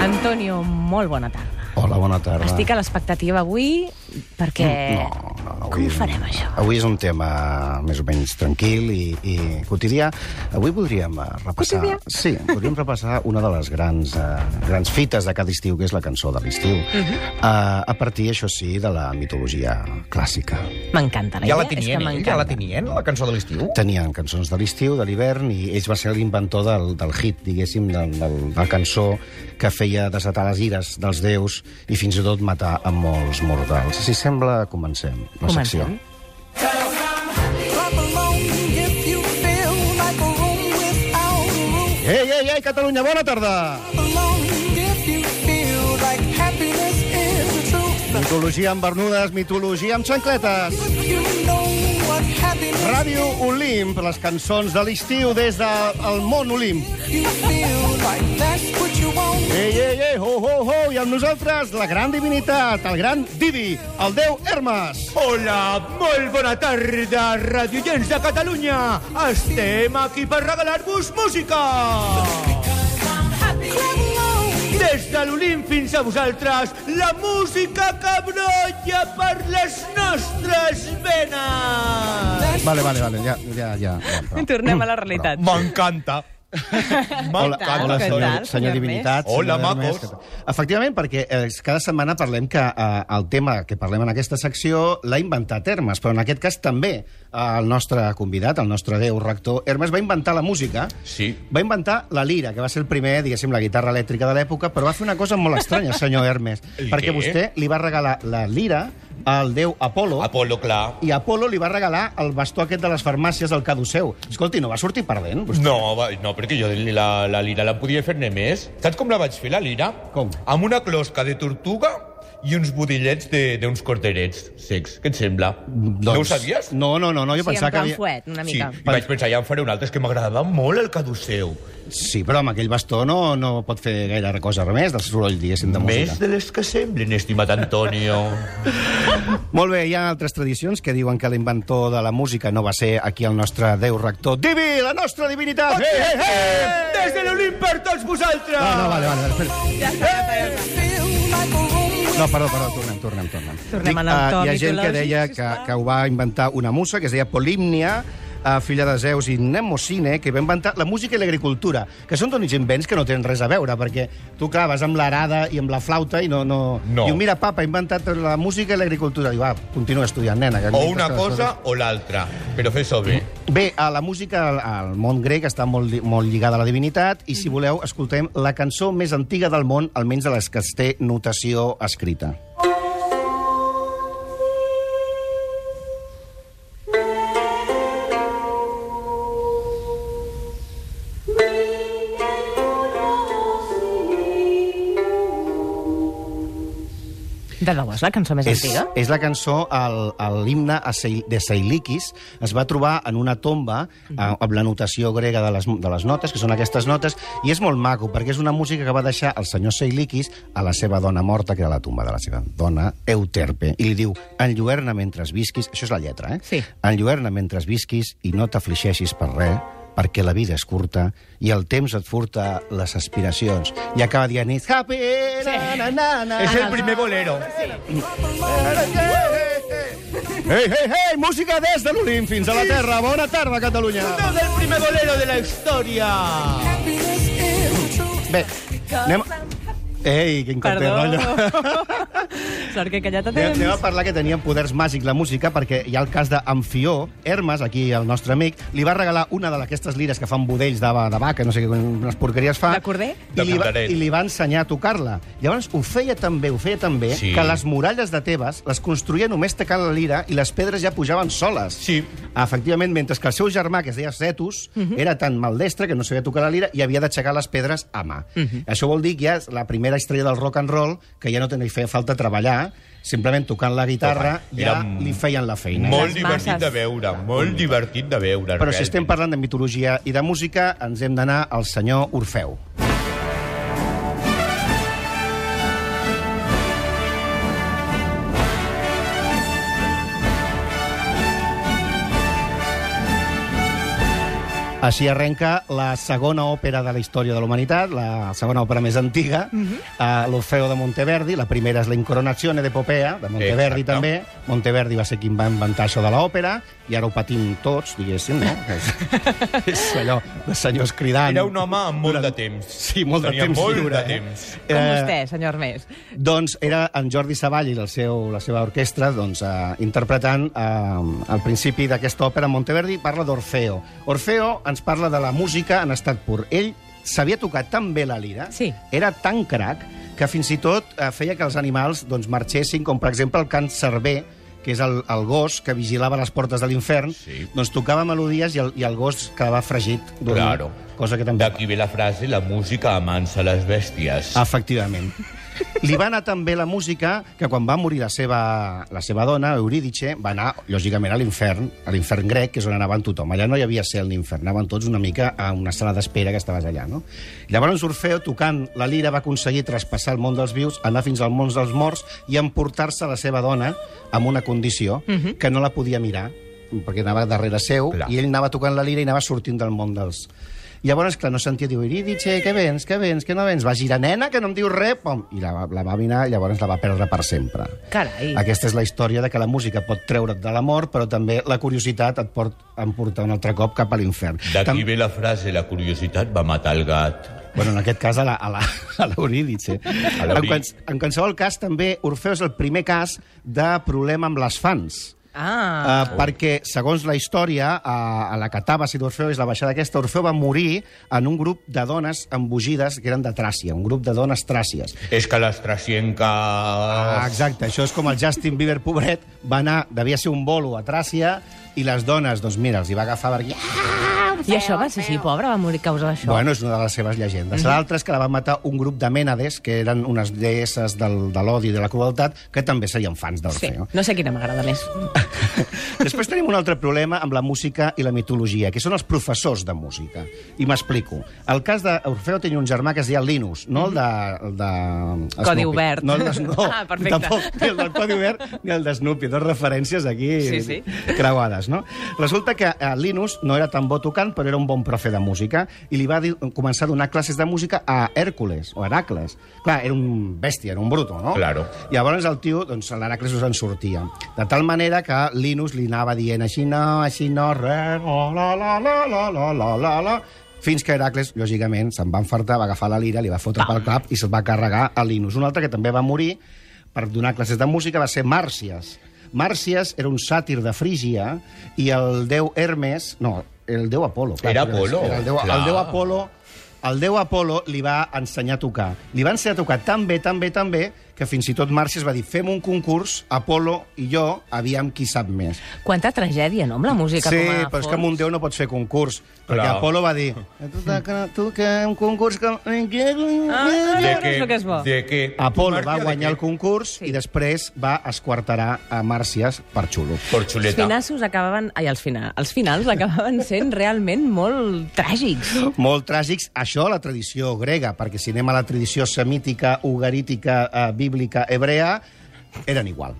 Antonio, molt bona tarda. Hola, bona tarda. Estic a l'expectativa avui perquè... Mm. No, no, no, Com ho farem, això? Avui és un tema més o menys tranquil i, i quotidià. Avui voldríem eh, repassar... Quotidià? Sí, voldríem repassar una de les grans, eh, grans fites de cada estiu, que és la cançó de l'estiu. Uh Mhm. -huh. eh, a partir, això sí, de la mitologia clàssica. M'encanta la idea. Ja la és que eh? tenien, ell, m'encanta. ja la tenien, la cançó de l'estiu. Tenien cançons de l'estiu, de l'hivern, i ell va ser l'inventor del, del hit, diguéssim, del, del, de la cançó que feia desatar les ires dels déus i fins i tot matar a molts mortals. Si sembla, comencem la secció. Comencem. Clap along if you feel like a room without a roof. Ei, ei, ei, Catalunya, bona tarda! Clap along if you feel like happiness is the truth. Mitologia amb bernudes, mitologia amb xancletes. If you know what happiness Ràdio Olimp, les cançons de l'estiu des del el món Olimp. you feel like that's what you want. Ei, ei, ei, ho, ho, ho, i amb nosaltres la gran divinitat, el gran Didi, el déu Hermes. Hola, molt bona tarda, radiogents de Catalunya. Estem aquí per regalar-vos música. Clap along Des de l'Olimp fins a vosaltres, la música que brolla per les nostres venes. Vale, vale, vale, ja, ja, ja. ja prou. Tornem a la realitat. M'encanta. Hola, M'encanta. què senyor, tal, senyor senyor Divinitat. Hermes? Hola, senyor Hermes, macos. què tal? Efectivament, perquè eh, cada setmana parlem que eh, el tema que parlem en aquesta secció l'ha inventat Hermes, però en aquest cas també eh, el nostre convidat, el nostre déu rector, Hermes, va inventar la música. Sí. Va inventar la lira, que va ser el primer, diguéssim, la guitarra elèctrica de l'època, però va fer una cosa molt estranya, senyor Hermes, El perquè què? vostè li va regalar la lira al déu Apolo, Apolo, clar. i Apolo li va regalar el bastó aquest de les farmàcies del caduceu. Escolti, no va sortir perdent, vostè? No, va, no, perquè jo la, la lira la podia fer-ne més. Saps com la vaig fer, la lira? Com? Amb una closca de tortuga i uns budillets de- d'uns corderets secs. Què et sembla? No ho sabies? Doncs, No, no, no, no jo Sí, en pensava que plan havia... fuet, una Sí, mica. i vaig pensar, ja en faré un altre, és que m'agradava molt el caduceu. Sí, però amb aquell bastó no, no pot fer gaire cosa més del soroll, diguéssim, de música. Més de les que semblen, estimat Antonio. Molt bé, hi ha altres tradicions que diuen que l'inventor de la música no va ser aquí el nostre déu rector. Divi, la nostra divinitat! Hey, hey, hey! Eh, Des de l'Olimp per tots vosaltres. No, no, vale, vale, vale. espera. feel like a room No, perdó, perdó, tornem, tornem, tornem. Tornem en el eh, to hi ha gent que mitològic, deia que, sisplau. que ho va inventar una musa, que es deia Polímnia, eh, filla de Zeus i Nemocine, que va inventar la música i l'agricultura, que són tots invents que no tenen res a veure, perquè tu, clar, vas amb l'arada i amb la flauta i no... no... No. Diu, mira, papa, ha inventat la música i l'agricultura. Diu, va, continua estudiant, nena. Que O una aquestes cosa o l'altra, però fes-ho bé. Mm. Bé, a la música al- al món grec està molt, lli- molt lligada a la divinitat i, si Mm. voleu, escoltem la cançó més antiga del món, almenys de les que es té notació escrita. De debò, és la cançó més És, antiga? és la cançó, el- el- l'himne a Sei- de Seilikis. Es va trobar en una tomba eh, amb la notació grega de les, de les notes, que són aquestes notes, i és molt maco, perquè és una música que va deixar el senyor Seilikis a la seva dona morta, que era la tomba de la seva dona, Euterpe, i li diu, enlluerna mentre visquis... Això és la lletra, eh? Sí. Enlluerna mentre visquis i no t'afligeixis per res, perquè la vida és curta i el temps et furta les aspiracions. I acaba dient... It's happy, na, na, na, na, És na. el primer bolero. Ei, ei, ei, música des de l'Olimp fins a la Terra. Bona tarda, Catalunya. No del primer bolero de la història. happiness is the truth. Bé, anem... Ei, quin cop de rotllo. Sort que he callat a Anem temps. anem a parlar que tenien poders màgics la música perquè hi ha el cas d'Amfió, Hermes, aquí el nostre amic, li va regalar una d'aquestes lires que fan budells de, de vaca, no sé què, unes porqueries fa. De corder? I li, va, D'acordaret. I li va ensenyar a tocar-la. Llavors ho feia tan bé, ho feia tan bé, Sí. que les muralles de Tebes les construïa només tocant la lira i les pedres ja pujaven soles. Sí. Efectivament, mentre que el seu germà, que es deia Cetus, era tan maldestre que no sabia tocar la lira i havia d'aixecar les pedres a mà. Això vol dir que ja és la primera història del rock and roll, que ja no tenia feia falta treballar, simplement tocant la guitarra Home, ja era m- li feien la feina. Molt Les divertit masses. de veure, molt divertit de veure. Mm. Però si realment. estem parlant de mitologia i de música, ens hem d'anar al senyor Orfeu. Així arrenca la segona òpera de la història de la humanitat, la segona òpera més antiga, mm -hmm. l'Orfeo de Monteverdi, la primera és la Incoronazione d'Epopea, de Monteverdi Exacte. també. Monteverdi va ser qui va inventar això de l'òpera, i ara ho patim tots, diguéssim, no? És- és allò de senyors cridant. Era un home amb molt de temps. Sí, molt de Tenia temps molt lliure, de eh? temps. Com vostè, senyor Ernest. Doncs era en Jordi Savall i el seu, la seva orquestra doncs, eh, interpretant eh, al principi d'aquesta òpera Monteverdi parla d'Orfeo. Orfeo ens parla de la música en estat pur. Ell sabia tocar tan bé la lira, Sí. era tan crac, que fins i tot eh, feia que els animals doncs, marxessin, com per exemple el can Cervé, que és el, el gos que vigilava les portes de l'infern, Sí. doncs tocava melodies i el, i el gos quedava fregit. dormint, Claro. Cosa que també... D'aquí ve la frase, la música amansa les Ah, bèsties. Efectivament. Li va anar tan bé la música que quan va morir la seva, la seva dona, Eurídice, va anar, lògicament, a l'infern, a l'infern grec, que és on anaven tothom. Allà no hi havia cel ni infern, anaven tots una mica a una sala d'espera que estaves allà, no? Llavors Orfeo, tocant la lira, va aconseguir traspassar el món dels vius, anar fins al món dels morts i emportar-se la seva dona amb una condició que no la podia mirar, perquè anava darrere seu, Clar. i ell anava tocant la lira i anava sortint del món dels... Llavors, clar, no sentia, diu, Eurídice, que vens, que vens, que no vens? Va girar, nena, que no em diu res, pom! I la, va- la va mirar, i llavors la va perdre per sempre. Carai. Aquesta és la història de que la música pot treure't de l'amor, però també la curiositat et pot emportar un altre cop cap a l'infern. D'aquí ve la frase, la curiositat va matar el gat. Bueno, en aquest cas a la- a la- a l'Eurídice. A l'Eurí- En, quals, en qualsevol cas, també, Orfeu és el primer cas de problema amb les fans. Ah, Uh, perquè, segons la història, a, a la catàbasi d'Orfeu és la baixada aquesta, Orfeu va morir en un grup de dones embogides que eren de Tràcia, un grup de dones tràcies. Ah. És que les trasienques... Ah, exacte, això és com el Justin Bieber, pobret, va anar, devia ser un bolo a Tràcia, i les dones, doncs mira, els hi va agafar per aquí... i això va ser així, pobra, va morir a causa d'això. Bueno, és una de les seves Mm-hmm. llegendes. Mm -hmm. L'altra és que la va matar un grup de mènades, que eren unes deesses del, de l'odi i de la crueltat, que també serien fans sí, d'Orfeu. no sé quina m'agrada més. Després tenim un altre problema amb la música i la mitologia, que són els professors de música. I m'explico. El cas d'Orfeu tenia un germà que es deia Linus, no el de... El de Snoopy. Codi obert. No, el de, no Ah, perfecte. tampoc ni el del Codi Obert ni el de Snoopy. Dos referències aquí Sí, sí. creuades, no? Resulta que eh, Linus no era tan bo tocant, però era un bon profe de música, i li va dir, començar a donar classes de música a Hèrcules, o Heracles. Clar, era un bèstia, era un bruto, no? Claro. Llavors el tio, doncs, l'Heracles us en sortia. De tal manera que Linus li anava dient així no, així no, re, oh, la, la, la, la, la, la, la, la, fins que Heracles, lògicament, se'n va enfartar, va agafar la lira, li va fotre pel cap i se'l va carregar a Linus. Un altre que també va morir per donar classes de música va ser Màrcies. Màrcies era un sàtir de Frígia i el déu Hermes... No, el déu Apolo. Era Apolo, Era el, déu, clar. el déu Apolo el déu Apolo li va ensenyar a tocar. Li va ensenyar a tocar tan bé, tan bé, tan bé, que fins i tot Màrcies va dir fem un concurs, Apolo i jo, aviam qui sap més. Quanta tragèdia, no?, amb la música sí, com a però és fons. que amb un déu no pots fer concurs, perquè Clar. Apolo va dir tu, que- tu que un concurs que... Ah, De no és el que és bo. De que... Apolo va Marca de guanyar el que- concurs Sí. i després va esquarterar a Màrcies per xulo. Por Els xuleta. finassos acabaven... Ai, els, fina... els finals acabaven sent realment molt tràgics. Molt tràgics. Això a la tradició grega, perquè si anem a la tradició semítica, ugarítica, eh, bíblica, hebrea, eren igual.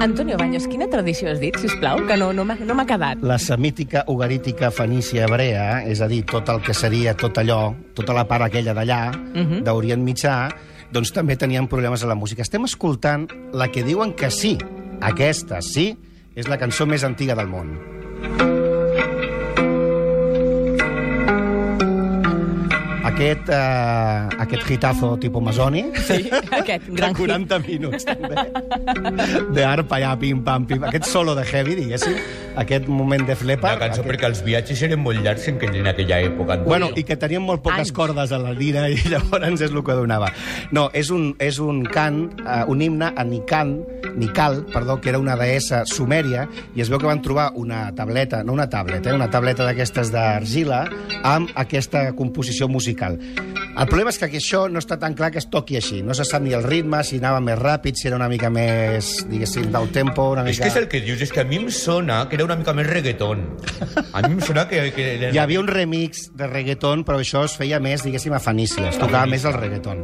Antonio Baños, quina tradició has dit, sisplau? Que no, no m'ha no m'ha quedat. La semítica, ugarítica, fenícia, hebrea, és a dir, tot el que seria tot allò, tota la part aquella d'allà, Mhm. d'Orient Mitjà, doncs també tenien problemes a la música. Estem escoltant la que diuen que sí, aquesta sí, és la cançó més antiga del món. Aquest, eh, aquest hitazo tipus masoni... Sí, aquest gran de 40 minuts, també. De arpa, ja, pim, pam, pim. Aquest solo de heavy, diguéssim. Aquest moment de La flepa. cançó, aquest... perquè els viatges eren molt llargs en, aquell- en aquella època. Antonio. Bueno, i que tenien molt poques Anys. cordes a la lira i llavors és el que donava. No, és un, és un cant, uh, un himne a Nikan, Nikal, perdó, que era una deessa sumèria, i es veu que van trobar una tableta, no una tableta, eh, una tableta d'aquestes d'argila, amb aquesta composició musical. El problema és que això no està tan clar que es toqui així. No se sap ni el ritme, si anava més ràpid, si era una mica més, diguéssim, del tempo, una mica... És que és el que dius, és que a mi em sona que era una mica més reggaeton. A mi em sona que... que Hi havia un remix de reggaeton, però això es feia més, diguéssim, a Fanícia. Es Ah, tocava més el reggaeton.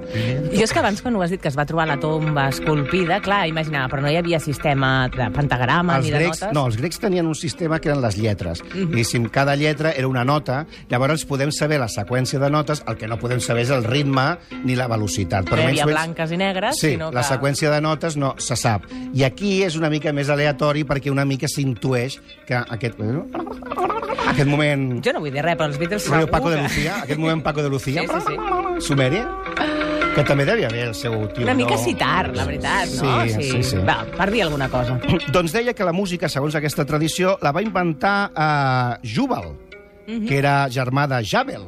Jo és que abans, quan ho has dit, que es va trobar la tomba esculpida, clar, imaginava, però no hi havia sistema de pentagrama Els ni de grecs, notes. Mhm. no, els grecs tenien un sistema que eren les lletres. Mm -hmm. Diguéssim, cada lletra era una nota, llavors podem saber la seqüència de notes, el que no podem saber és el ritme ni la velocitat. no hi menys havia o menys- blanques i negres, Sí, sinó que... la seqüència de notes no se sap. I aquí és una mica més aleatori perquè una mica s'intueix que aquest... Aquest moment... Jo no vull dir res, però els Beatles Bueno, segur Paco de que- Lucía, aquest moment Paco de Lucía. Sí, sí, sí. Sumèria, que també devia haver el seu tio. Una mica no? citar, la veritat, no? Sí, sí, sí. Va, per dir alguna cosa. Doncs deia que la música, segons aquesta tradició, la va inventar eh, Júbal, que era germà de Jabel.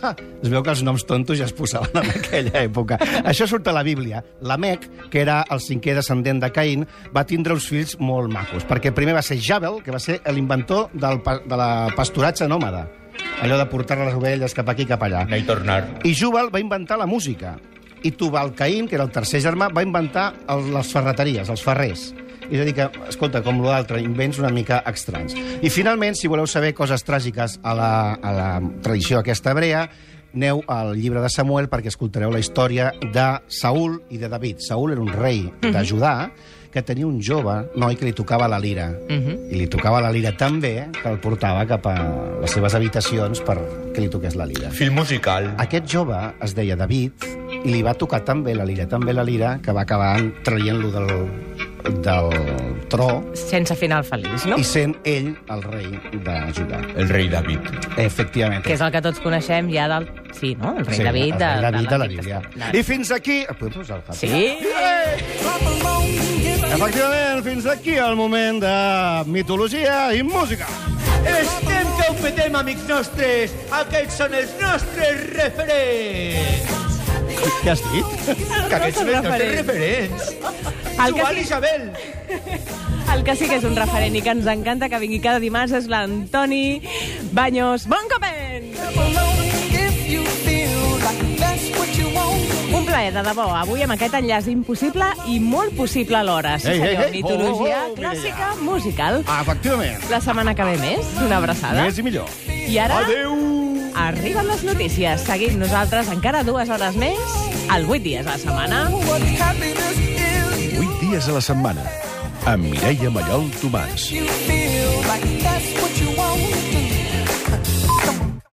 es veu que els noms tontos ja es posaven en aquella època. Això surt a la Bíblia. Lamec, que era el cinquè descendent de Caín, va tindre uns fills molt macos, perquè primer va ser Jabel, que va ser l'inventor del, pa- de la pasturatge nòmada, allò de portar les ovelles cap aquí, cap allà. Anar i tornar. I Jubal va inventar la música. I Tubal Caín, que era el tercer germà, va inventar el, les ferreteries, els ferrers. És a dir que, escolta, com l'altre, invents una mica estranys. I finalment, si voleu saber coses tràgiques a la, a la tradició aquesta hebrea, aneu al llibre de Samuel perquè escoltareu la història de Saúl i de David. Saúl era un rei de Judà que tenia un jove noi que li tocava la lira. I li tocava la lira tan bé que el portava cap a les seves habitacions perquè li toqués la lira. Fil musical. Aquest jove es deia David i li va tocar tan bé la lira, tan bé la lira, que va acabar traient-lo del, del tro Sense final feliç, no? i sent ell el rei de Judà. El rei David. Efectivament. Que és el que tots coneixem ja del... Sí, no? El rei sí, David. el rei David de, la l'Antic Bíblia. Testament. I fins aquí... Podem posar el cap? Sí. Clap along if you Efectivament, fins aquí el moment de mitologia i música. Estem que ho petem, amics nostres. Aquests són els nostres referents. Què has dit? Que aquests són els nostres referents. referents. El que Joan sí- Isabel. El que sí que és un referent i que ens encanta que vingui cada dimarts és l'Antoni Baños Boncomen. clap along if you feel like that's what you want. Un plaer, de debò, avui amb aquest enllaç impossible i molt possible alhora. Sí, Ei, ei, senyor, ei. mitologia Oh, oh, oh, clàssica musical. Efectivament. La setmana que ve més, una abraçada. Més i millor. I ara Adéu! arriben les notícies. Seguim nosaltres encara dues hores més, al 8 dies a la setmana. What happiness is 8 dies a la setmana amb Mireia Mallol Tomàs. you feel like that's